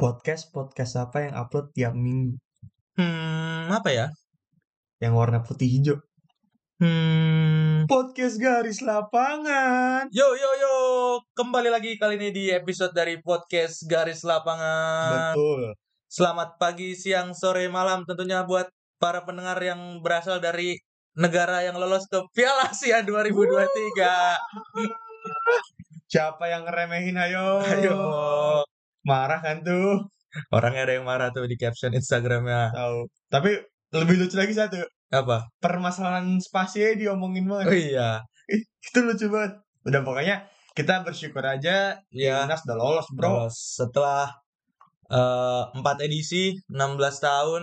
podcast podcast apa yang upload tiap minggu Hmm, apa ya? yang warna putih hijau Hmm. podcast garis lapangan Yo yo yo, kembali lagi kali ini di episode dari podcast Garis Lapangan. betul Selamat pagi, siang, sore, malam tentunya buat para pendengar yang berasal dari negara yang lolos ke Piala Asia 2023. siapa yang ngeremehin ayo Ayo. marah kan tuh Orangnya ada yang marah tuh di caption Instagramnya. tahu tapi lebih lucu lagi satu Apa? permasalahan spasinya diomongin Oh banget iya. itu lucu banget udah pokoknya kita bersyukur aja Iya. Timnas udah lolos bro Terus setelah eh, empat edisi 16 tahun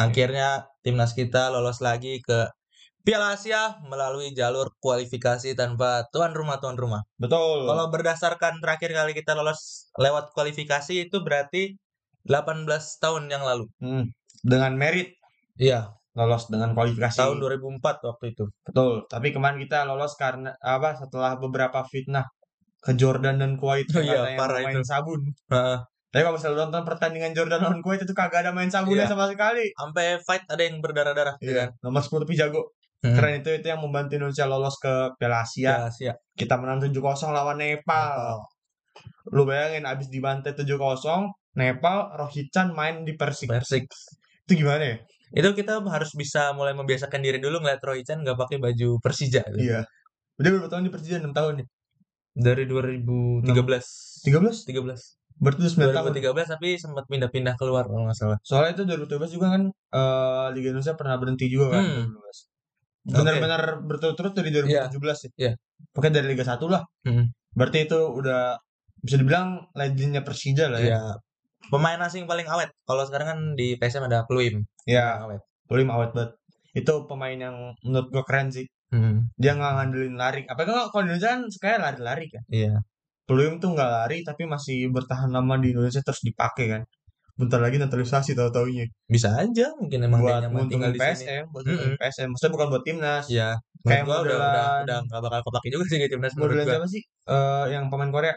akhirnya timnas kita lolos lagi ke Piala Asia melalui jalur kualifikasi tanpa tuan rumah tuan rumah. betul Kalau berdasarkan terakhir kali kita lolos lewat kualifikasi itu berarti 18 tahun yang lalu. Hmm, dengan merit Iya, lolos dengan kualifikasi tahun 2004 waktu itu. Betul, tapi kemarin kita lolos karena apa setelah beberapa fitnah ke Jordan dan Kuwait Oh iya, katanya parah main itu. sabun. Heeh. Tapi kalau misalnya lu nonton pertandingan Jordan lawan Kuwait itu kagak ada main sabunnya Iya. sama sekali. Iya. Sampai fight ada yang berdarah-darah ya kan? Nomor 10 tapi jago. Hmm. Iya. Keren Iya. itu itu yang membantu Indonesia lolos ke Piala Asia. Piala Asia. Kita menang 7-0 lawan Nepal. Iya. Lu bayangin abis dibantai 7-0, Nepal Rohit Chan main di Persik. Persik. Itu gimana ya? Iya. Itu kita harus bisa mulai membiasakan diri dulu ngeliat Roy Chan nggak pakai baju Persija. gitu. Iya. Udah berapa tahun di Persija? 6 tahun ya? Dari 2013. 13? 13. Berarti udah 9 tahun. 2013 tapi sempat pindah-pindah keluar kalau nggak salah. Soalnya itu 2012 juga kan eh, Liga Indonesia pernah berhenti juga kan Hmm. 2012. Benar-benar berturut-turut dari 2017 ya. Iya. Pokoknya dari Liga 1 lah. Hmm. Berarti itu udah bisa dibilang legendnya Persija lah ya. Iya. Pemain asing paling awet. Kalau sekarang kan di PSM ada Pluim. Ya, Paling awet. Bolim awet banget. Itu pemain yang menurut gue keren sih. Hmm. Dia nggak ngandelin lari. Apa kalau kalau Indonesia kan sukanya lari-lari kan. Iya. Peluim tuh nggak lari tapi masih bertahan lama di Indonesia terus dipakai kan. Bentar lagi naturalisasi tahu-taunya. Bisa aja mungkin emang dia Buat nyaman tinggal nguntungin di sini. PSM, buat nguntungin Mm-mm. PSM. Maksudnya bukan buat timnas. Iya. Kayak Kayak gua udah modelan- udah udah nggak bakal kepake juga sih di timnas menurut modelan gua. siapa sih Eh, yang pemain Korea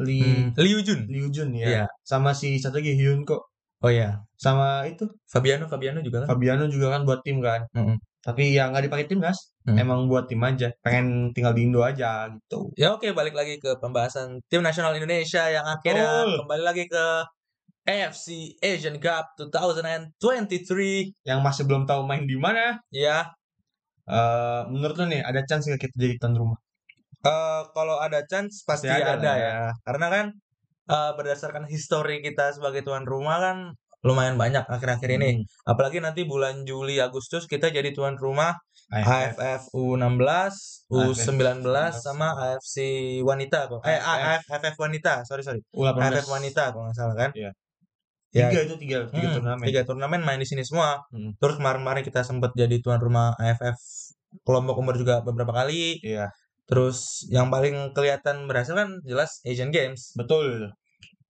Lee Hmm. Liu Jun. Liu Jun ya Iya. sama si satu lagi Hyun kok Oh iya. sama itu Fabiano Fabiano juga kan. Fabiano juga kan buat tim kan Mm-mm. tapi ya nggak dipakai timnas Mm. emang buat tim aja pengen tinggal di Indo aja gitu Ya oke balik lagi ke pembahasan tim nasional Indonesia yang akhirnya Betul. kembali lagi ke AFC Asian Cup 2023 yang masih belum tahu main di mana ya eh, menurut lo nih ada chance nggak kita jadi tuan rumah Eh, kalau ada chance pasti Pasti ada ada, lah ya. ya. Karena kan eh, berdasarkan histori kita sebagai tuan rumah kan lumayan banyak akhir-akhir ini. Hmm. Apalagi nanti bulan Juli Agustus kita jadi tuan rumah AFF. AFF U16, U19 sama AFC wanita kok. Eh AFF. AFF wanita, sorry sorry. U18 AFF wanita kalau nggak salah kan. Iya. Ya, tiga itu tiga tiga Hmm, turnamen tiga turnamen main di sini semua. Hmm. Terus kemarin-kemarin kita sempat jadi tuan rumah AFF kelompok umur juga beberapa kali. iya Terus yang paling kelihatan berhasil kan jelas Asian Games. betul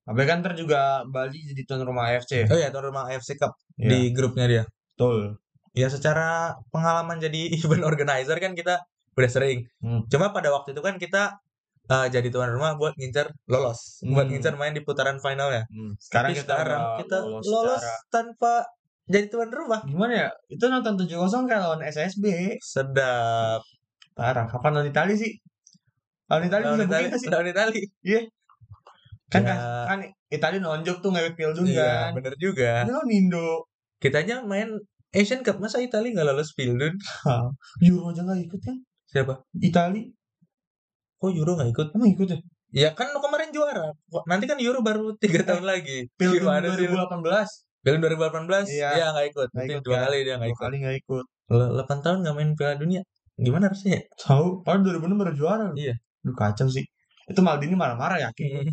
tapi kan ntar juga Bali jadi tuan rumah AFC Oh ya tuan rumah AFC Cup Iya. di grupnya dia. betul Ya secara pengalaman jadi event organizer kan kita udah sering. Hmm. Cuma pada waktu itu kan kita eh, jadi tuan rumah buat ngincer lolos, buat Hmm. ngincer main di putaran finalnya. Hmm. sekarang Tapi kita, udah kita lolos, secara- tanpa jadi tuan rumah. gimana ya itu nonton 7-0 kan lawan SSB Sedap. parah kapan lawan Itali sih lawan Itali Lawan bisa Itali, begitu sih lawan Itali. kan Ya. kan Itali nonjok tuh ngewek Pildun Iya, kan bener juga. ini lawan Indo Kitanya main Asian Cup masa Itali nggak lolos Pildun? Hah, Euro aja nggak ikut kan Siapa? Itali Kok Euro nggak ikut? emang ikut ya Ya kan lu kemarin juara. Wah, Nanti kan Euro baru Eh, tiga tahun lagi. Pildun Gimana sih lu? 2018 Piala 2018 Iya. ya nggak ikut. Nggak Nanti ikut dua kan? kali dia nggak dua ikut. kali nggak ikut Lo- 8 tahun nggak main Piala Dunia. Gimana rasanya? tahu padahal 2006 baru juara loh. Iya. Duh, kacau sih itu Maldini marah-marah yakin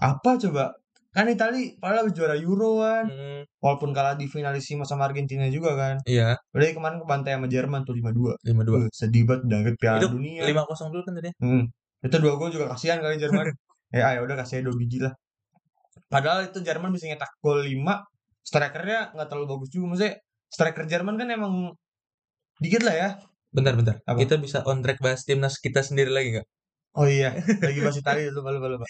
apa coba kan Itali padahal habis juara Euro kan Hmm, walaupun kalah di finalissimo sama Argentina juga kan Iya, udah kemarin ke bantai sama Jerman tuh 5-2 5-2. Wah, sedih banget udah ikut Piala Itu Dunia. 5-0 dulu kan tadi. Hmm. Itu dua gol juga kasihan kali Jerman. eh ayo udah kasih aja dua biji lah. Padahal itu Jerman bisa nyetak gol 5. Strikernya nggak terlalu bagus juga maksudnya. Striker Jerman kan emang dikit lah ya. Bentar, bentar. Apa? Kita bisa on track bahas timnas kita sendiri lagi nggak? Oh iya, lagi bahas Italia lupa lupa lupa.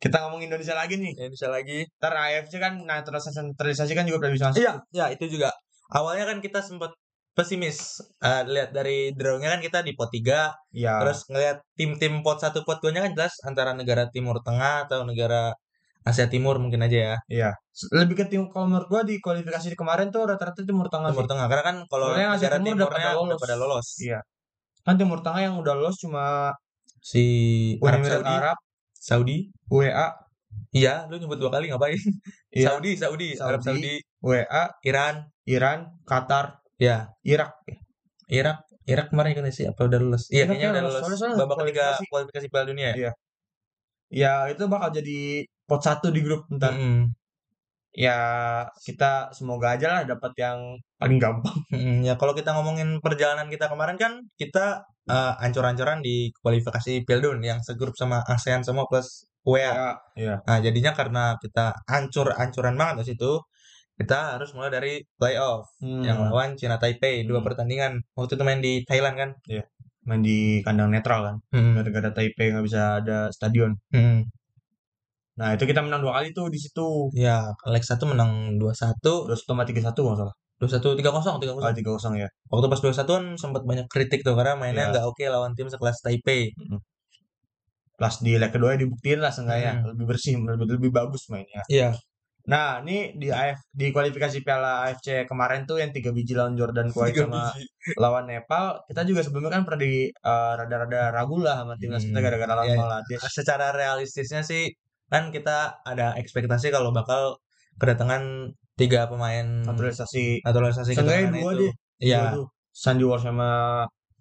Kita ngomong Indonesia lagi nih. Indonesia lagi. Ntar AFC kan naturalisasi, naturalisasi kan juga udah bisa masuk. Iya, ya itu juga. Awalnya kan kita sempat pesimis. Eh, lihat dari drawingnya kan kita di pot 3, Iya. Terus terus ngelihat tim-tim pot 1, pot 2-nya kan jelas antara negara Timur Tengah atau negara Asia Timur mungkin aja ya. lebih ke tim kalau menurut gua di kualifikasi kemarin tuh rata-rata Timur Tengah. Iya Timur sih. Tengah karena kan kalau Soalnya yang Asia negara Timur udah Timurnya pada udah lolos. pada lolos. Iya. Kan Timur Tengah yang udah lolos cuma Si Arab Uni Emirat Saudi, Arab, Saudi. UEA, Iya, lu nyebut dua kali ngapain? Iya. Saudi, Saudi, Arab Saudi, Saudi. UEA, Iran, Iran, Qatar, ya, Irak. Irak. Irak kemarin ikutnya sih apa udah lulus? Iya, Irak kayaknya ya udah lolos. lulus. Soalnya- soalnya Babak ketiga kualifikasi. kualifikasi Piala Dunia ya. Iya. Ya itu bakal jadi pot satu di grup ntar. Mm-mm. Ya kita semoga aja lah dapat yang paling gampang. Mm-mm. Ya kalau kita ngomongin perjalanan kita kemarin kan kita eh, ancur-ancuran di kualifikasi Piala Dunia yang segrup sama ASEAN semua plus UEA. Ya, iya. Nah, jadinya karena kita ancur-ancuran banget di situ, kita harus mulai dari playoff Hmm. yang lawan Cina Taipei dua Hmm. pertandingan. Waktu itu main di Thailand kan? Hmm. main di kandang netral kan. Mm-mm. Gara-gara Taipei nggak bisa ada stadion. Mm-mm. Nah itu kita menang dua kali tuh di situ. Ya, Alex 1 menang 2-1, Dua sama tiga satu nggak salah. 2-1 3-0, 3-0. Ah tiga kosong ya. Waktu pas 2-1 kan sempat banyak kritik tuh karena mainnya Iya. nggak oke lawan tim sekelas Taipei. Plus di leg kedua ya dibuktiin lah seenggaknya Hmm. lebih bersih, lebih, lebih bagus mainnya. Iya. Nah ini di AF di kualifikasi Piala AFC kemarin tuh yang tiga biji lawan Jordan Kuwait Tiga sama biji. lawan Nepal. Kita juga sebelumnya kan pernah di eh, rada-rada ragu lah sama timnas kita Hmm. gara-gara lawan Iya, iya. Bangladesh. Secara realistisnya sih kan kita ada ekspektasi kalau bakal kedatangan tiga pemain Naturalisasi naturalisasi Seenggaknya keturunan dua itu. deh. Iya, dua tuh. Sandy Wall sama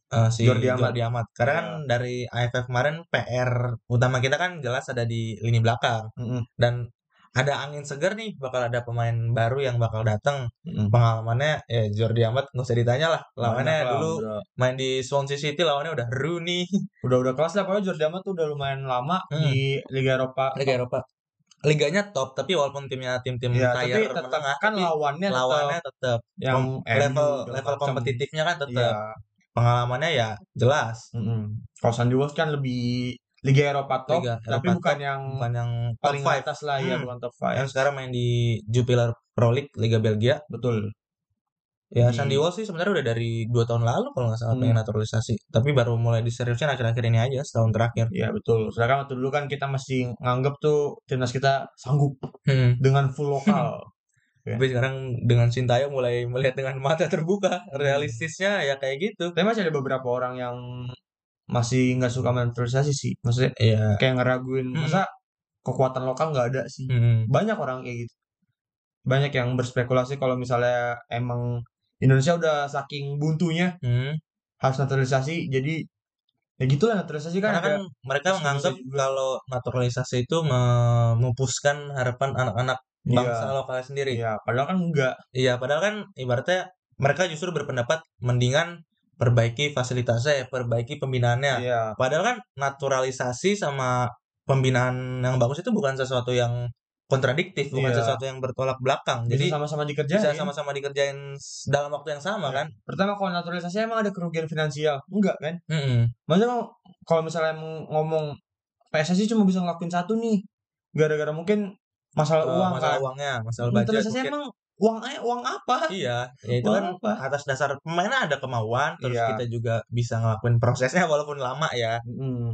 eh, si Jordi Jordi Amat. Iya. Amat. Karena kan dari AFF kemarin PR utama kita kan jelas ada di lini belakang Mm-mm, dan ada angin segar nih bakal ada pemain baru yang bakal datang. mm-mm. Pengalamannya ya Jordi Amat nggak usah ditanya lah. Lawannya Banyak lah, dulu udah main di Swansea City lawannya udah Rooney udah udah kelas lah pokoknya Jordi Amat tuh udah lumayan lama Hmm. Iya, di Liga Eropa Liga Eropa. Liganya top tapi walaupun timnya tim-tim ya tapi tier tetap menengah kan tapi lawannya tetap lawannya tetap yang Kom- MU level segala level macam. kompetitifnya kan tetap Iya, pengalamannya ya jelas mm-mm. kalau Sandy Walsh kan lebih Liga Eropa top Liga tapi Eropa bukan top, yang bukan yang top paling five atas atas lah ya Hmm. bukan top five yang sekarang main di Jupiler Pro League Liga Belgia betul ya Di- Sandy Walsh sih sebenarnya udah dari dua tahun lalu kalau nggak salah Hmm. pengen naturalisasi tapi baru mulai diseriusin akhir-akhir ini aja setahun terakhir ya betul sedangkan waktu dulu kan kita masih nganggep tuh timnas kita sanggup hmm. dengan full lokal tapi sekarang dengan Sintayong mulai melihat dengan mata terbuka Hmm. realistisnya ya kayak gitu tapi masih ada beberapa orang yang masih nggak suka naturalisasi sih maksudnya ya kayak ngeraguin Hmm. masa kekuatan lokal nggak ada sih hmm. banyak orang kayak gitu banyak yang berspekulasi kalau misalnya emang Indonesia udah saking buntunya hmm. harus naturalisasi jadi ya gitulah naturalisasi kan karena ada kan mereka Terus menganggap bisa juga. kalau naturalisasi itu memupuskan harapan anak-anak bangsa Iya. lokal sendiri ya padahal kan enggak Iya, padahal kan ibaratnya mereka justru berpendapat mendingan perbaiki fasilitasnya, ya, perbaiki pembinaannya. Iya. Padahal kan naturalisasi sama pembinaan yang bagus itu bukan sesuatu yang kontradiktif, bukan Iya. sesuatu yang bertolak belakang. bisa Jadi sama-sama dikerjain bisa sama-sama dikerjain s- dalam waktu yang sama Iya. kan? pertama kalau naturalisasi emang ada kerugian finansial enggak kan Mm-mm. maksudnya kalau- kalau misalnya emang ngomong PSSI cuma bisa ngelakuin satu nih gara-gara mungkin masalah Eh, uang masalah kan uangnya, masalah budget. naturalisasi mungkin. emang uang eh, uang apa Iya, ya itu Uang kan apa? atas dasar pemain ada kemauan, terus Iya. kita juga bisa ngelakuin prosesnya walaupun lama ya. Mm.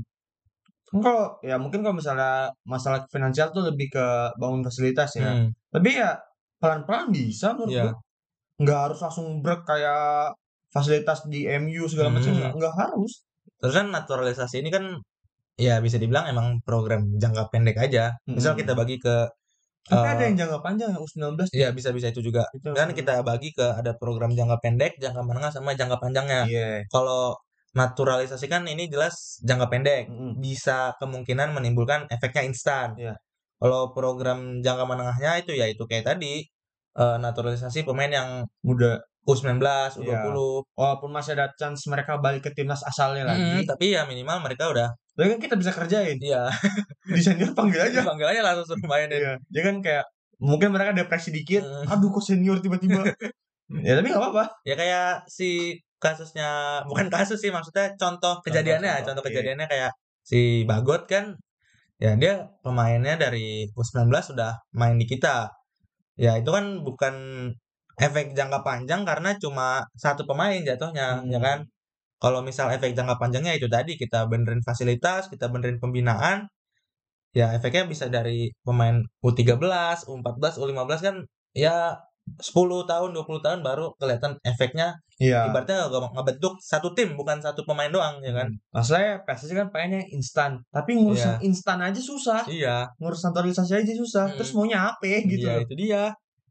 Kan Kalau ya mungkin kalau misalnya masalah finansial tuh lebih ke bangun fasilitas ya. Mm. Tapi ya pelan-pelan bisa menurut Iya. gua. Nggak harus langsung brek kayak fasilitas di MU segala macam Hmm. nggak, nggak harus. Terus kan naturalisasi ini kan ya bisa dibilang emang program jangka pendek aja. Misal Mm-mm. kita bagi ke Tapi eh, ada yang jangka panjang ya U19 ya bisa-bisa itu juga. itu. Dan kita bagi ke ada program jangka pendek, jangka menengah sama jangka panjangnya. Iya. Kalau naturalisasi kan ini jelas jangka pendek, Mm-mm. bisa kemungkinan menimbulkan efeknya instan. Iya. Kalau program jangka menengahnya itu ya itu kayak tadi eh, naturalisasi pemain yang Muda U19, U20 Iya. walaupun masih ada chance mereka balik ke timnas asalnya Mm, lagi. tapi ya minimal mereka udah Tapi kan kita bisa kerjain. ya Di senior panggil aja. panggil aja langsung suruh main deh. Ya. Iya. Dia kan kayak mungkin mereka depresi dikit. Mm. Aduh kok senior tiba-tiba. ya tapi nggak apa-apa. ya kayak si kasusnya bukan kasus sih maksudnya contoh kejadiannya contoh, contoh, iya. oke. kejadiannya kayak si Bagot kan ya dia pemainnya dari U19 sudah main di kita. Ya itu kan bukan efek jangka panjang karena cuma satu pemain jatuhnya, Hmm. ya kan? Kalau misal efek jangka panjangnya itu tadi kita benerin fasilitas, kita benerin pembinaan, ya efeknya bisa dari pemain U13, U14, U15 kan ya 10 tahun, 20 tahun baru kelihatan efeknya. Iya. Ibaratnya nge- ngebentuk satu tim, bukan satu pemain doang, ya Hmm. kan? Masalahnya PSSI kan pengennya instan, tapi ngurus Iya. yang instan aja susah, Iya, ngurus naturalisasi aja susah. Mm. Terus maunya apa Hmm. gitu iya, loh. itu dia.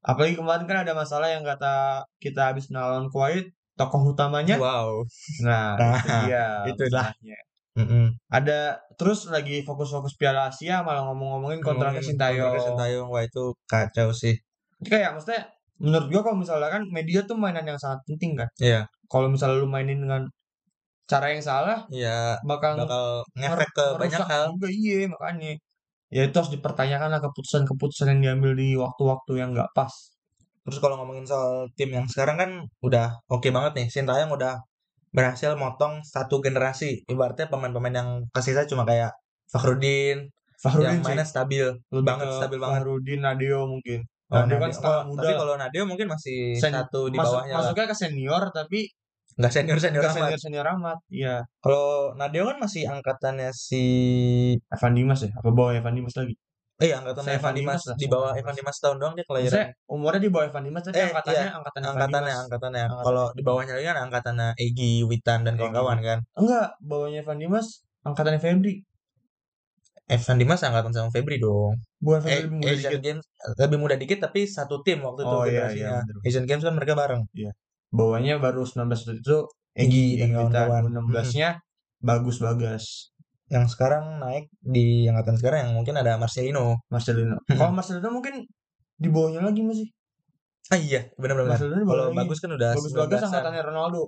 Apalagi kemarin kan ada masalah yang kata kita habis melawan Kuwait, tokoh utamanya. Wow. Nah, Nah, itu dia. itulah. masalahnya. Mm-mm. Ada terus lagi fokus-fokus Piala Asia malah ngomong-ngomongin kontraknya Ngomongin Sintayong. Kontraknya Sintayong, wah itu kacau sih. Kayak maksudnya menurut gua kalau misalnya kan media tuh mainan yang sangat penting kan. Iya, Kalau misalnya lu mainin dengan cara yang salah iya bakal bakal Ngerusak ngefek ke banyak hal. juga iya makanya ya itu harus dipertanyakan lah keputusan-keputusan yang diambil di waktu-waktu yang nggak pas Terus kalau ngomongin soal tim yang sekarang kan udah oke banget nih. Sintayong udah berhasil motong satu generasi. Ibaratnya pemain-pemain yang kesisa cuma kayak Fakhrudin, yang Fahrudin mainnya stabil. lebih banget, ke stabil banget. Fahrudin Nadeo mungkin Oh, Nadeo kan Nadeo- setengah oh, muda Tapi lah. kalau Nadeo mungkin masih Sen- satu di Masuk- bawahnya lah. masuknya ke senior tapi Nggak senior-senior ke amat. senior senior amat iya Kalau Nadeo kan masih angkatannya si Evan Dimas ya apa bawah Evan Dimas lagi eh angkatannya Saya Evan Evan Dimas, Dimas lah, di saya bawah Evan Evan Dimas tahun doang dia kelahiran Maksudnya umurnya di bawah Evan Dimas tapi Eh, angkatannya angkatan Evan angkatannya Dimas angkatannya Angkatan kalau Evan di bawahnya lagi kan angkatannya Egi Witan dan Egy, kawan-kawan kan enggak bawahnya Evan Dimas angkatan Febri Evan Dimas angkatan sama Febri dong bukan Febri eh, lebih muda Asian dikit Games lebih muda dikit tapi satu tim waktu itu Oh, iya, generasinya iya, bener. Asian Games kan mereka bareng bawahnya baru 19 itu Egy Egi dan Egi kawan-kawan. Witan 16 nya bagus bagas yang sekarang naik di angkatan sekarang yang mungkin ada Marcelino Marcelino Mm-mm. kalau Marcelino mungkin di bawahnya lagi masih ah iya benar-benar Marcelino di bawahnya kalau lagi. bagus kan udah bagus bagas 19-an. angkatannya Ronaldo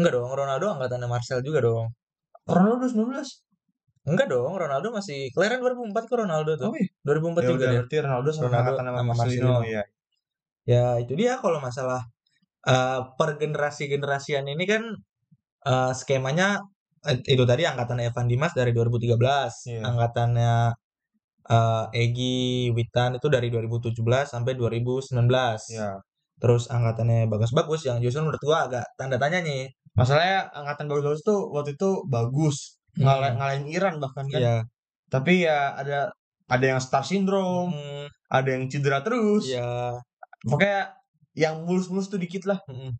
enggak dong Ronaldo angkatannya Marcel juga dong Ronaldo udah 19 enggak dong Ronaldo masih kelahiran 2004 kok Ronaldo tuh oh iya ya 2004 juga udah dia berarti Ronaldo sama Ronaldo angkatan sama sama Marcelino Marcelino. ya Ya itu dia kalau masalah eh, per generasi-generasian ini kan eh, skemanya eh, itu tadi angkatan Evan Dimas dari 2013, Iya. angkatannya eh, Egi Witan itu dari 2017 sampai 2019. Iya. ya Terus angkatannya bagus-bagus yang justru menurut gua agak tanda tanya nih. masalahnya angkatan bagus-bagus tuh waktu itu bagus Ngala- Hmm. ngalahin Iran bahkan kan Iya. tapi ya ada ada yang star syndrome Hmm, ada yang cedera terus Iya. pokoknya yang mulus-mulus tuh dikit lah Mm-mm.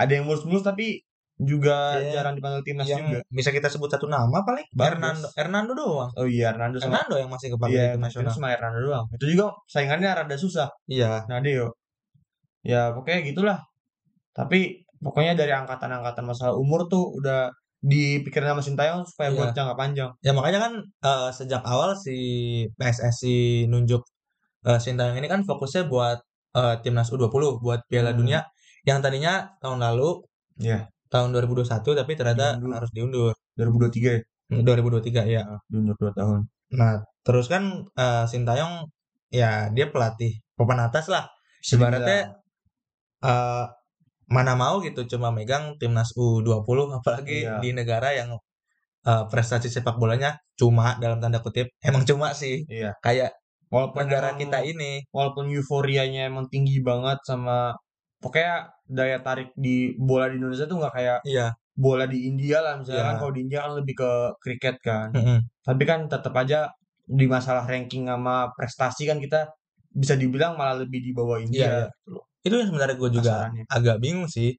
ada yang mulus-mulus tapi juga Iya. jarang dipanggil timnas Yang juga. bisa kita sebut satu nama paling Bagus. Hernando, Hernando doang. Oh iya, Hernando sama Hernando yang masih kepakai di iya, tim Martinez nasional. sama Hernando doang. Itu juga saingannya rada susah. Iya. Nadeo. Ya pokoknya gitulah. Tapi pokoknya dari angkatan-angkatan masalah umur tuh udah dipikirin sama Sintayong supaya Iya. buat jangka panjang. Ya makanya kan eh, sejak awal si PSSI nunjuk eh, Sintayong ini kan fokusnya buat eh, timnas U20 buat Piala Hmm. Dunia yang tadinya tahun lalu Iya. tahun 2021 tapi ternyata Diundur. harus diundur 2023 ya, Hmm, 2023 ya. diundur 2 tahun. Nah, terus kan eh, Sintayong ya dia pelatih papan atas lah. Bisa dibilang. Ibaratnya, Eh, mana mau gitu cuma megang timnas U20 apalagi Iya. di negara yang eh, prestasi sepak bolanya cuma dalam tanda kutip emang cuma sih iya. kayak Walaupun negara emang- kita ini walaupun euforianya emang tinggi banget sama pokoknya daya tarik di bola di Indonesia tuh nggak kayak Iya. bola di India lah misalnya Iya. kan kalau di India kan lebih ke kriket kan Mm-mm. tapi kan tetap aja di masalah ranking sama prestasi kan kita bisa dibilang malah lebih di bawah Iya, India gitu loh Itu yang sebenarnya gue juga kasarannya. agak bingung sih.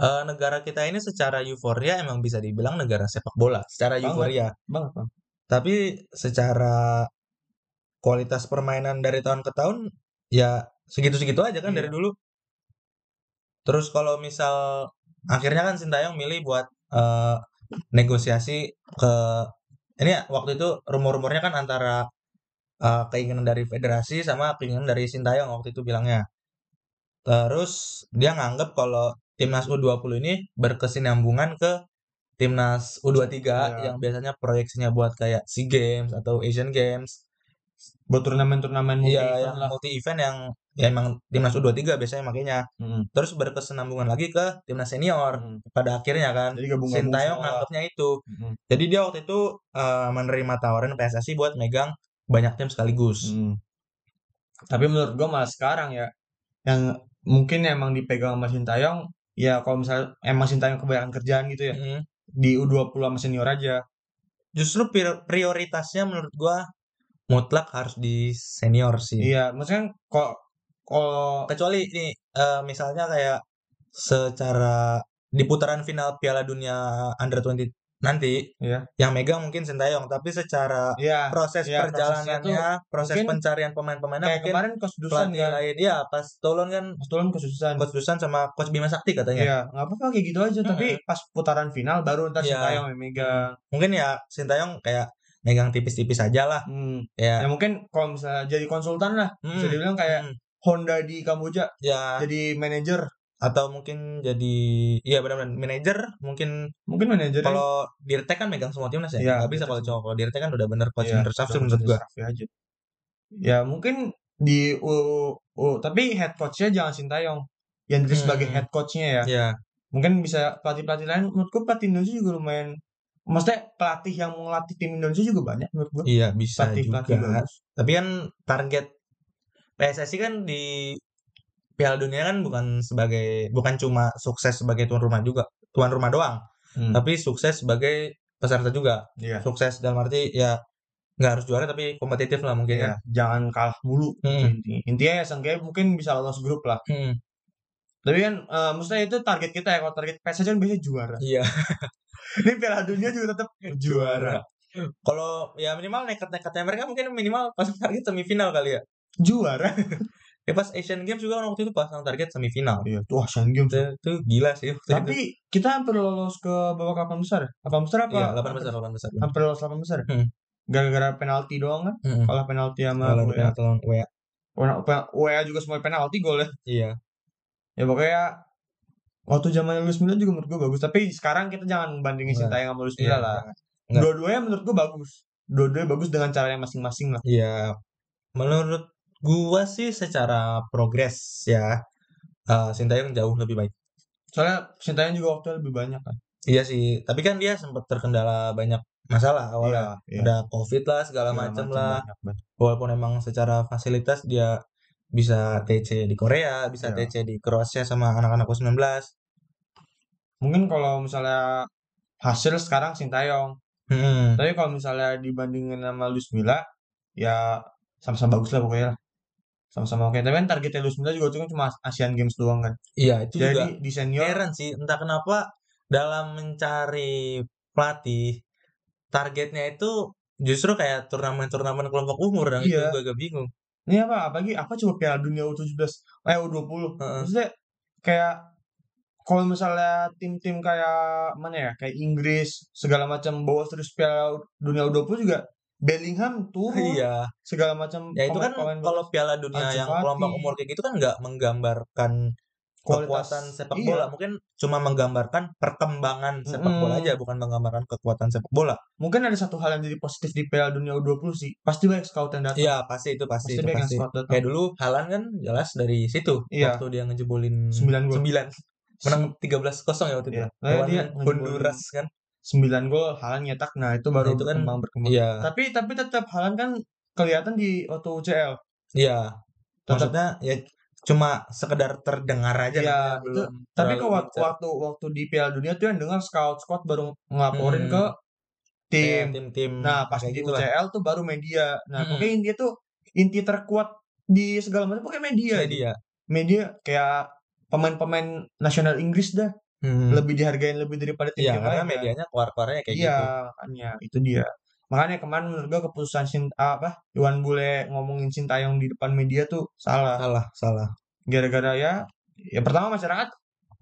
Eh, negara kita ini secara euforia emang bisa dibilang negara sepak bola. Secara Banget. euforia. banget Bang. Tapi secara kualitas permainan dari tahun ke tahun ya segitu-segitu aja kan dari Iya. dulu. Terus kalau misal akhirnya kan Sintayong milih buat eh, negosiasi ke ini ya, waktu itu rumor-rumornya kan antara eh, keinginan dari federasi sama keinginan dari Sintayong waktu itu bilangnya. Terus dia nganggep kalau timnas U20 ini berkesinambungan ke timnas U23 Iya. yang biasanya proyeksinya buat kayak SEA Games atau Asian Games. buat turnamen-turnamen multi Iya, yang event lah multi event yang ya emang timnas U23 biasanya makanya Hmm. terus berkesinambungan lagi ke timnas senior Hmm. pada akhirnya kan Jadi gabung gabung Sintayong nganggapnya itu Mm-hmm. jadi dia waktu itu eh, menerima tawaran PSSI buat megang banyak tim sekaligus Hmm. Tapi menurut gua malah sekarang ya yang mungkin emang dipegang sama Sintayong ya kalau misalnya emang Sintayong kebanyakan kerjaan gitu ya Mm. di U20 sama senior aja justru prior- prioritasnya menurut gua mutlak harus di senior sih iya maksudnya kok kalau kecuali ini eh, misalnya kayak secara di putaran final Piala Dunia Under 20 nanti Iya. yang megang mungkin Sintayong tapi secara ya proses iya, prosesnya perjalanannya proses mungkin pencarian pemain-pemainnya kayak mungkin kemarin Coach Dusan pelatih kan lain ya pas Tolon kan Coach Dusan Coach Dusan Coach Dusan sama Coach Bima Sakti katanya Iya, nggak apa-apa kayak gitu aja. Tapi pas putaran final baru entar Iya. Sintayong yang megang. mungkin ya Sintayong kayak megang tipis-tipis aja lah Hmm. Ya ya mungkin kalau misalnya jadi konsultan lah, bisa Mm, dibilang kayak mm, Honda di Kamboja ya jadi manajer. atau mungkin jadi iya benar-benar manajer mungkin Mungkin manajer kalau Dirtek kan megang semua timnas ya, Iya, nggak Dirtek bisa kalau semua. cowok kalau Dirtek kan udah bener coach Iya, menurut Safri udah menurut coach gua Raffi aja. Ya mungkin di U, U- tapi head coachnya jangan Sintayong yang jadi sebagai Hmm. head coachnya ya. Iya, Mungkin bisa pelatih-pelatih lain. Menurutku pelatih Indonesia juga lumayan. Maksudnya pelatih yang melatih tim Indonesia juga banyak menurut gua. iya bisa Pelatih-pelatih juga. bagus. Tapi kan target PSSI kan di Piala Dunia kan bukan sebagai bukan cuma sukses sebagai tuan rumah juga tuan rumah doang, Hmm. tapi sukses sebagai peserta juga. Iya. Sukses dalam arti ya nggak harus juara tapi kompetitif lah mungkin Iya, kan. jangan kalah mulu. Hmm. Intinya, intinya ya seenggaknya mungkin bisa lolos grup lah. Hmm, Tapi kan eh, maksudnya itu target kita ya. Kalau target PSG kan biasanya juara. Iya. Ini Piala Dunia juga tetap juara. Kalau ya minimal nekat-nekatnya mereka mungkin minimal pas target semifinal kali ya. Juara. Ya pas Asian Games juga kan waktu itu pasang target semifinal. Iya, tuh Asian Games. Itu, itu gila sih waktu itu. Tapi kita hampir lolos ke babak 8 besar. 8 besar apa? Iya, 8 besar, 8 besar. Hampir lolos 8 besar. ya? Hmm. Gara-gara penalti doang kan? Mm-mm. Kalah penalti sama Kalau UEA. penalti Hmm, lawan WA. UEA juga semua penalti gol ya. Iya. Ya pokoknya waktu zaman Luis Milla juga menurut gue bagus. Tapi sekarang kita jangan bandingin Enggak. Sintayong sama Luis Milla Iya, lah. Enggak. Dua-duanya menurut gue bagus. Dua-duanya bagus dengan caranya masing-masing lah. Iya. Menurut gua sih secara progres ya eh Sintayong jauh lebih baik. Soalnya Sintayong juga waktunya lebih banyak kan. Iya sih, tapi kan dia sempat terkendala banyak masalah awalnya. iya. Ada Covid lah Segala segala, macam macam lah. banyak banget. Walaupun emang secara fasilitas dia bisa TC di Korea, bisa Iya. TC di Kroasia sama anak-anak U19. Mungkin kalau misalnya hasil sekarang Sintayong. Hmm. Tapi kalau misalnya dibandingin sama Luis Milla, ya sama-sama bagus lah pokoknya lah. Sama-sama oke. Tapi kan targetnya Luis Milla juga cuma- cuma Asian Games doang kan. Iya, itu juga Jadi di senior, heran sih entah kenapa dalam mencari pelatih targetnya itu justru kayak turnamen-turnamen kelompok umur dan Iya. itu gue agak bingung ini apa? Apalagi apa cuma Piala Dunia U17, eh U20. Heeh. Maksudnya kayak kalau misalnya tim-tim kayak mana ya, kayak Inggris segala macam bawa terus Piala Dunia U20 juga Bellingham turun iya segala macam ya itu kan Oh, pemain-pemain kalau piala dunia yang Ansu Fati. kelompok umur kayak gitu kan nggak menggambarkan kualitas- kekuatan sepak iya. bola mungkin cuma menggambarkan perkembangan sepak bola Mm-mm. aja bukan menggambarkan kekuatan sepak bola Mungkin ada satu hal yang jadi positif di Piala Dunia U20 sih. Pasti banyak scout yang datang. iya pasti itu pasti pasti itu banyak yang pasti scout datang. kayak dulu Halan kan jelas dari situ Iya. waktu dia ngejebolin Sembilan gol. 9 menang 13-0 ya waktu itu Iya. Nah, lawan dia Honduras kan 9 gol Halan nyetak nah itu baru Nah, itu kan- berkembang berkembang iya tapi tapi tetap Halan kan kelihatan di waktu UCL Iya, tetap maksudnya ya cuma sekedar terdengar aja Iya, namanya, itu- belum tapi terlalu ke waktu, dica- waktu waktu di Piala Dunia tuh yang dengar scout squad baru ngelaporin Hmm. ke kayak tim Iya, tim-tim nah pas kayak gitu di gitulah. Hmm. UCL tuh baru media nah Mm-mm. pokoknya intinya tuh inti terkuat di segala macam pokoknya media Media. media kayak pemain-pemain nasional Inggris dah Hmm. lebih dihargain lebih daripada tim Iya, yang karena lain kan. medianya keluar-keluarnya kayak iya, gitu. makanya itu dia. Makanya kemarin menurut gua keputusan Sin, apa Iwan Bule ngomongin Sintayong di depan media tuh salah. Salah, salah. Gara-gara ya ya pertama masyarakat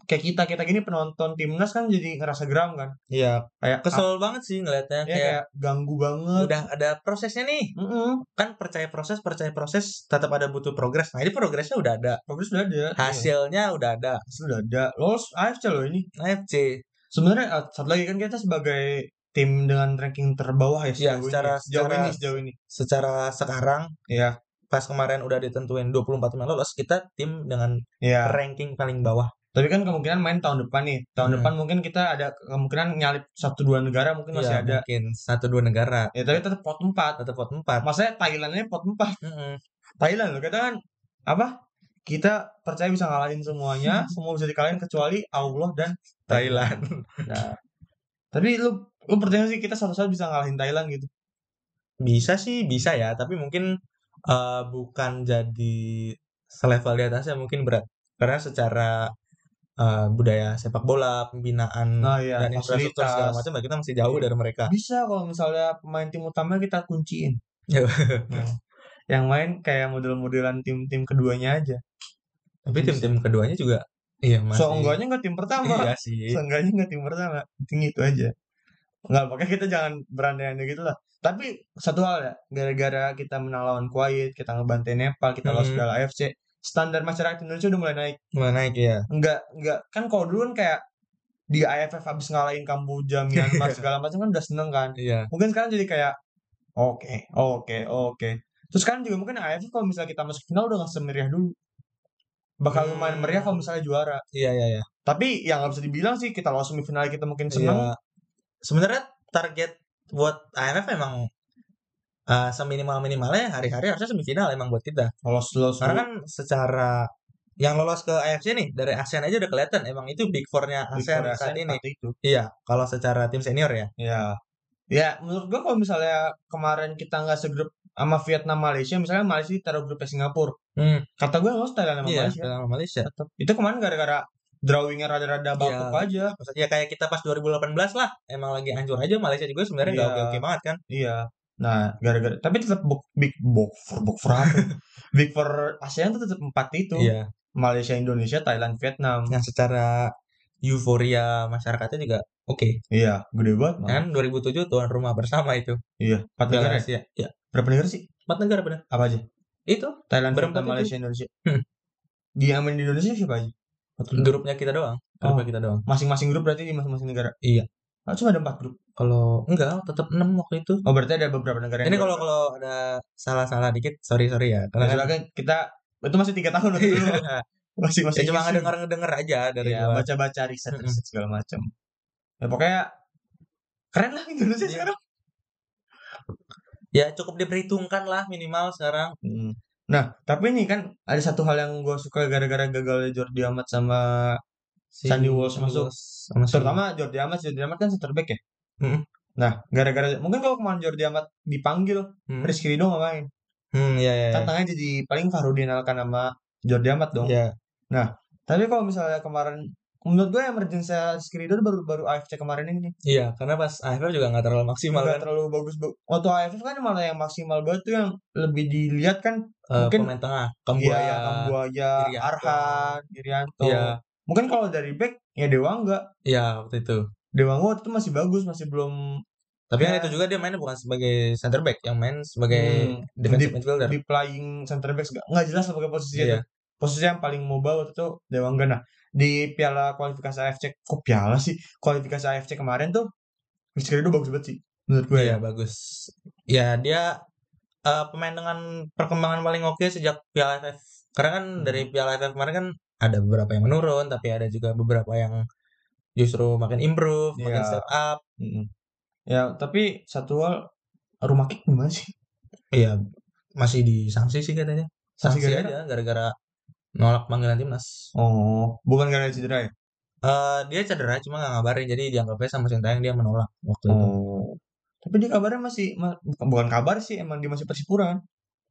kayak kita kita gini penonton timnas kan jadi ngerasa geram kan. Iya, Kayak kesel banget sih ah, ngelihatnya ya, kayak, kayak ganggu banget. udah ada prosesnya nih. Mm-mm, Kan percaya proses, percaya proses, tetap ada butuh progres. Nah, ini progresnya udah ada, Progres udah ada. Iya, hasilnya udah ada. Nah, hasil udah ada. Lolos AFC loh ini. AFC. Sebenarnya ah, satu lagi kan kita sebagai tim dengan ranking terbawah ya Iya, sejauh secara- ini. Sejauh secara- ini, sejauh ini. Secara sekarang ya, Iya. pas kemarin udah ditentuin 24 tim yang lolos, kita tim dengan Iya. ranking paling bawah. Tapi kan kemungkinan main tahun depan nih. Tahun Hmm. depan mungkin kita ada kemungkinan nyalip satu dua negara mungkin masih Iya, ada. mungkin satu dua negara Ya tapi tetap pot 4. tetap pot empat. Maksudnya Thailandnya pot 4. Mm-mm. Thailand loh katakan apa? Kita percaya bisa ngalahin semuanya, semua bisa dikalahin kecuali Allah dan Thailand. Nah, Tapi lu lu percaya nggak sih kita satu saat bisa ngalahin Thailand gitu? bisa sih bisa ya, tapi mungkin eh, bukan jadi selevel di atasnya mungkin berat karena secara eh, budaya sepak bola pembinaan Nah, iya, dan infrastruktur segala fasilitas. Iya. macam nah, kita masih jauh dari mereka. Bisa kalau misalnya pemain tim utama kita kunciin. Ya. Nah, yang main kayak model-modelan tim-tim keduanya aja. Tapi Bisa. tim-tim keduanya juga iya masih So enggaknya nggak tim pertama. iya sih. Seenggaknya nggak tim pertama, penting itu aja. Nggak, pakai kita jangan berandai-andai gitu lah. Tapi satu hal ya, gara-gara kita menang lawan Kuwait, kita ngebantai Nepal, kita lolos Hmm. Piala AFC, standar masyarakat Indonesia udah mulai naik. Mulai naik ya. Nggak, nggak, kan kalau dulu kan kayak di AFF habis ngalahin Kamboja, Myanmar, segala macam kan udah seneng kan. Iya. Mungkin sekarang jadi kayak, oke, oke, oke. Terus sekarang juga mungkin AFF kalau misalnya kita masuk final udah nggak semeriah dulu. Bakal lumayan Hmm. meriah kalau misalnya juara. Iya iya iya. Tapi yang nggak bisa dibilang sih, kita lolos semifinal kita mungkin seneng, Iya. Sebenarnya target buat AFF memang eh, seminimal-minimalnya hari-hari harusnya semifinal emang buat kita. lolos lolos Karena kan secara yang lolos ke AFC nih dari ASEAN aja udah kelihatan emang itu big four-nya dulu, ASEAN Korea saat Sen ini. saat itu Iya, kalau secara tim senior ya. ya ya menurut gua kalau misalnya kemarin kita nggak segrup sama Vietnam Malaysia misalnya Malaysia ditaruh grupnya Singapura Hmm, kata gua lolos Thailand sama iya, Malaysia sama Malaysia. Tetap. itu kemarin gara-gara drawingnya rada-rada Iya. bakuk aja Ya kayak kita pas 2018 lah, emang lagi hancur aja Malaysia juga sebenarnya nggak Iya. oke-oke banget kan. iya nah gara-gara tapi tetap bok- big bok for bok for apa? big for ASEAN tuh tetap empat itu Iya. Malaysia Indonesia Thailand Vietnam Yang secara euforia masyarakatnya juga oke. iya gede banget malah. Kan 2007 tuan rumah bersama itu. iya empat Piala negara ya? Asia. Ya, berapa negara sih empat negara benar. apa aja Itu Thailand Vietnam Berempat itu. Malaysia Indonesia Hmm. di yang main di Indonesia siapa aja Satu grupnya kita doang. Oh. Grupnya kita doang. masing-masing grup berarti di masing-masing negara Iya. oh, cuma ada empat grup Kalau enggak tetap 6 waktu itu. oh berarti ada beberapa negara Ini kalau kalau ada salah-salah dikit, sorry sorry ya. kalau Karena kan kita itu masih tiga tahun waktu dulu masih ya masih cuma isu. ngedenger denger aja dari Hmm. Iya, luar. baca-baca riset Mm-mm. riset segala macam ya pokoknya keren lah Indonesia Iya. sekarang Ya cukup diperhitungkan lah minimal sekarang. Hmm. nah tapi ini kan ada satu hal yang gue suka gara-gara gagalnya Jordi Amat sama Si Sandy Walsh masuk. Walsh sama si- terutama Jordi Amat Jordi Amat kan center back ya Mm-mm. nah gara-gara mungkin kalau kemarin Jordi Amat dipanggil Hmm. Rizky Ridho nggak main Hmm, ya ya. ya. tantangannya Kan jadi paling Farudin Alkan sama Jordi Amat dong Ya, Tapi kalau misalnya kemarin menurut gue emergency Rizky Ridho baru baru AFC kemarin ini nih. iya, karena pas AFF juga nggak terlalu maksimal Nggak kan. terlalu bagus ba- waktu AFC kan malah yang maksimal banget tuh yang lebih dilihat kan Eh, mungkin- pemain tengah, Iya, Kambuaya. Kambuaya, Irianto. Arhan, Irianto. Iya. Mungkin kalau dari back ya Dewa enggak. Iya, waktu itu. Dewa waktu itu masih bagus, masih belum Tapi Ya. kan itu juga dia mainnya bukan sebagai center back, yang main sebagai Hmm, defensive di- midfielder. di playing center back nggak nggak jelas lah pakai posisinya Iya. tuh. posisi yang paling moba waktu itu Dewa Engga. Nah, di piala kualifikasi AFC kok piala sih kualifikasi AFC kemarin tuh Rizky Ridho bagus banget sih menurut gue Iya, bagus. Ya, dia eh, pemain dengan perkembangan paling oke sejak Piala AFF. Karena kan Hmm. dari Piala AFF kemarin kan ada beberapa yang menurun, tapi ada juga beberapa yang justru makin improve, makin Iya. step up. Mm-mm. Ya, tapi satu hal rumah kick gimana sih? Iya, masih disangsi sih katanya. Sanksi gara-gara? aja gara-gara nolak panggilan timnas. Oh, bukan gara-gara cedera ya? Eh, dia cedera cuma nggak ngabarin, jadi dianggapnya sama Sintayong dia menolak waktu itu. Oh. Tapi dia kabarnya masih ma- bukan, bukan kabar sih, emang dia masih Persipura kan.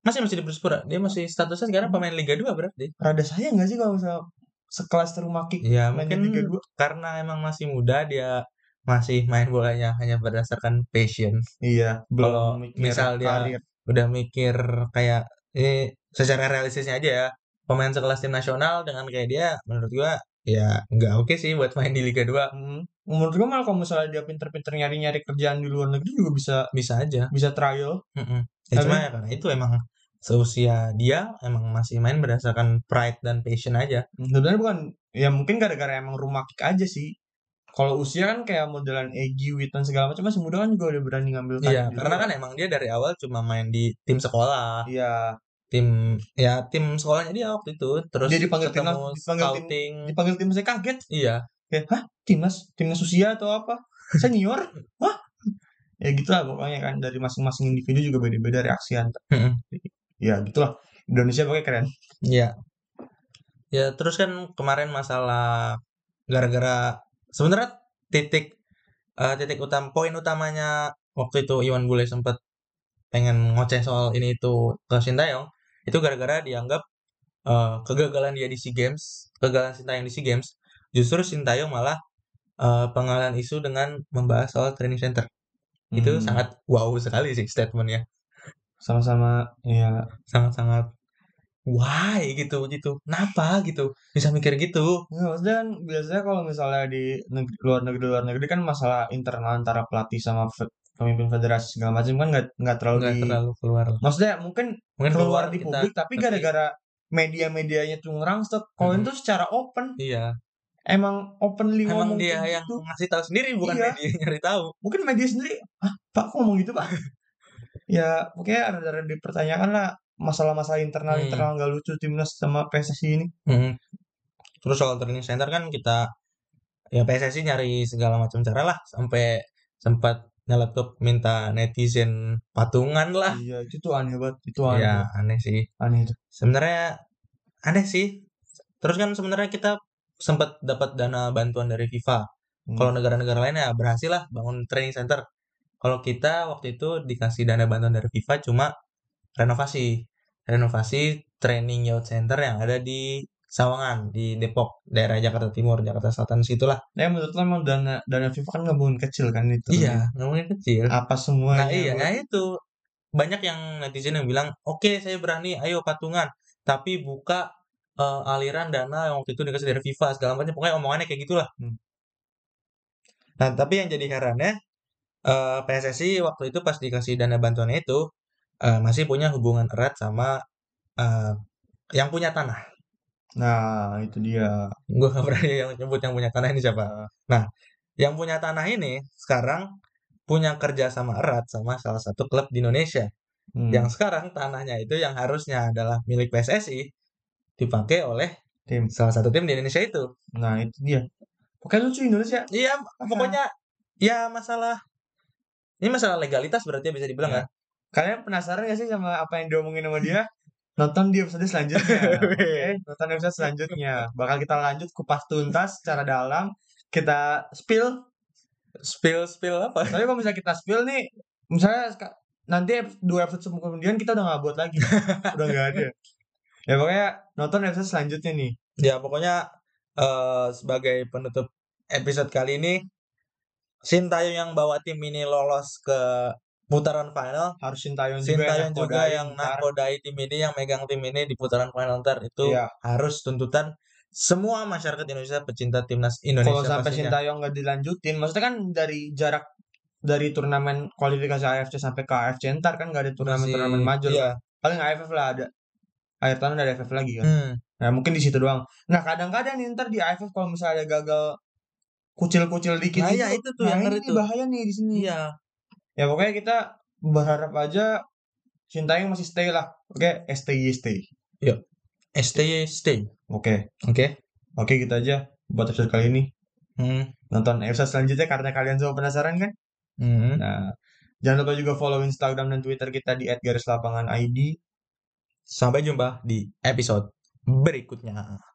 Masih masih di Persipura, dia masih statusnya sekarang pemain Liga 2 berarti. Rada sayang gak sih kalau misalnya sekelas rumah kick Iya, main di mungkin Liga 2? karena emang masih muda dia masih main bolanya hanya berdasarkan passion Iya, belum Kalau mikir misal dia- karir. udah mikir kayak eh secara realistisnya aja ya pemain sekelas tim nasional dengan kayak dia menurut gua ya nggak oke sih buat main di Liga 2 Mm. Menurut gue malah kalau misalnya dia pinter-pinter nyari-nyari kerjaan di luar negeri juga bisa bisa aja bisa trial. Mm-mm. ya Tapi- cuma ya karena itu emang seusia dia emang masih main berdasarkan pride dan passion aja Sebenarnya bukan ya mungkin gara-gara emang rumah kick aja sih. Kalau usia kan kayak modelan Egy, Witan segala macam masih muda kan juga udah berani ngambil karir iya di karena luar. kan emang dia dari awal cuma main di tim sekolah Iya, tim ya tim sekolahnya dia waktu itu terus Dia dipanggil ketemu timnas- dipanggil tim- scouting dipanggil tim saya kaget iya kayak hah timnas timnas usia atau apa senior wah ya gitulah pokoknya kan dari masing-masing individu juga beda-beda reaksi antar Heeh. ya gitulah Indonesia pakai keren Iya. Ya, terus kan kemarin masalah gara-gara sebenarnya titik eh, titik utama poin utamanya waktu itu Iwan Bule sempat pengen ngoceh soal ini itu ke Sintayong itu gara-gara dianggap eh, kegagalan dia di SEA Games, kegagalan Sintayong di SEA Games, justru Sintayong malah eh, pengalihan isu dengan membahas soal training center. Itu Hmm, sangat wow sekali sih statementnya. sama-sama ya sangat-sangat why gitu gitu kenapa gitu bisa mikir gitu Nggak, maksudnya kan biasanya kalau misalnya di negeri, luar negeri luar negeri kan masalah internal antara pelatih sama fe- pemimpin federasi segala macam kan nggak nggak terlalu nggak di terlalu keluar lah. maksudnya mungkin mungkin keluar di kita- publik tapi ngerti. gara-gara media-medianya tuh ngerangsek kalau Mhm. itu secara open iya emang openly emang ngomong dia kayak yang gitu. ngasih tahu sendiri bukan Iya. media yang nyari tahu mungkin media sendiri ah pak kok ngomong gitu pak ya pokoknya ada dipertanyakan lah masalah-masalah internal Hmm. internal nggak lucu timnas sama PSSI ini Mm. terus soal training center kan kita ya PSSI nyari segala macam cara lah sampai sempat nyeletuk minta netizen patungan lah iya itu tuh aneh banget itu aneh ya aneh sih aneh itu sebenarnya aneh sih terus kan sebenarnya kita sempat dapat dana bantuan dari FIFA Hmm. kalau negara-negara lain ya berhasil lah bangun training center kalau kita waktu itu dikasih dana bantuan dari FIFA cuma renovasi renovasi training youth center yang ada di Sawangan di Depok daerah Jakarta Timur Jakarta Selatan situlah Nah, menurut lo emang dana dana FIFA kan nggak mungkin kecil kan itu. iya ngomongnya kecil Apa ya? semuanya? Nah iya, buat- nah itu banyak yang netizen yang bilang, oke saya berani, ayo patungan, tapi buka eh, aliran dana yang waktu itu dikasih dari FIFA segala macam, pokoknya omongannya kayak gitulah. Hmm. Nah tapi yang jadi herannya eh, PSSI waktu itu pas dikasih dana bantuannya itu eh, masih punya hubungan erat sama eh, yang punya tanah. Nah, itu dia. Gue gak berani yang nyebut yang punya tanah ini siapa. Nah yang punya tanah ini sekarang punya kerjasama erat sama salah satu klub di Indonesia Hmm, yang sekarang tanahnya itu yang harusnya adalah milik PSSI dipakai oleh tim. salah satu tim di Indonesia itu. Nah, itu dia. Pokoknya lucu Indonesia. Iya, Ah. pokoknya ya masalah ini masalah legalitas berarti ya bisa dibilang Ya. kan. Kalian penasaran gak sih sama apa yang diomongin sama dia? Nonton di episode selanjutnya. Oke, nonton episode selanjutnya. Bakal kita lanjut kupas tuntas secara dalam. Kita spill. Spill spill apa? Tapi kalau misalnya kita spill nih, misalnya seka- nanti ep- dua episode kemudian kita udah nggak buat lagi. udah nggak ada. Ya pokoknya nonton episode selanjutnya nih. Ya pokoknya eh, sebagai penutup episode kali ini Sintayong yang bawa tim ini lolos ke putaran final. harus Sintayong juga Sintayong juga nakodain yang ntar. nakodai tim ini, yang megang tim ini di putaran final ntar itu Iya. harus tuntutan semua masyarakat Indonesia pecinta timnas kalau Indonesia sampai pastinya. Sintayong nggak dilanjutin maksudnya kan dari jarak dari turnamen kualifikasi AFC sampai ke AFC ntar kan nggak ada turnamen-turnamen Masih- major kan. iya. paling AFF lah ada akhir tahun ada AFF lagi kan Hmm, nah mungkin di situ doang nah kadang-kadang nih ntar di AFF kalau misalnya ada gagal kucil-kucil dikit gitu, Nah, iya, itu tuh yang ini ngeri nih tuh. bahaya nih di sini iya. ya pokoknya kita berharap aja Sintayong masih stay lah oke STY stay STY stay. oke Oke. oke kita aja buat episode kali ini Hmm. nonton episode selanjutnya karena kalian semua penasaran kan hmm. Nah, jangan lupa juga follow Instagram dan Twitter kita di @garislapangan_id. Sampai jumpa di episode berikutnya.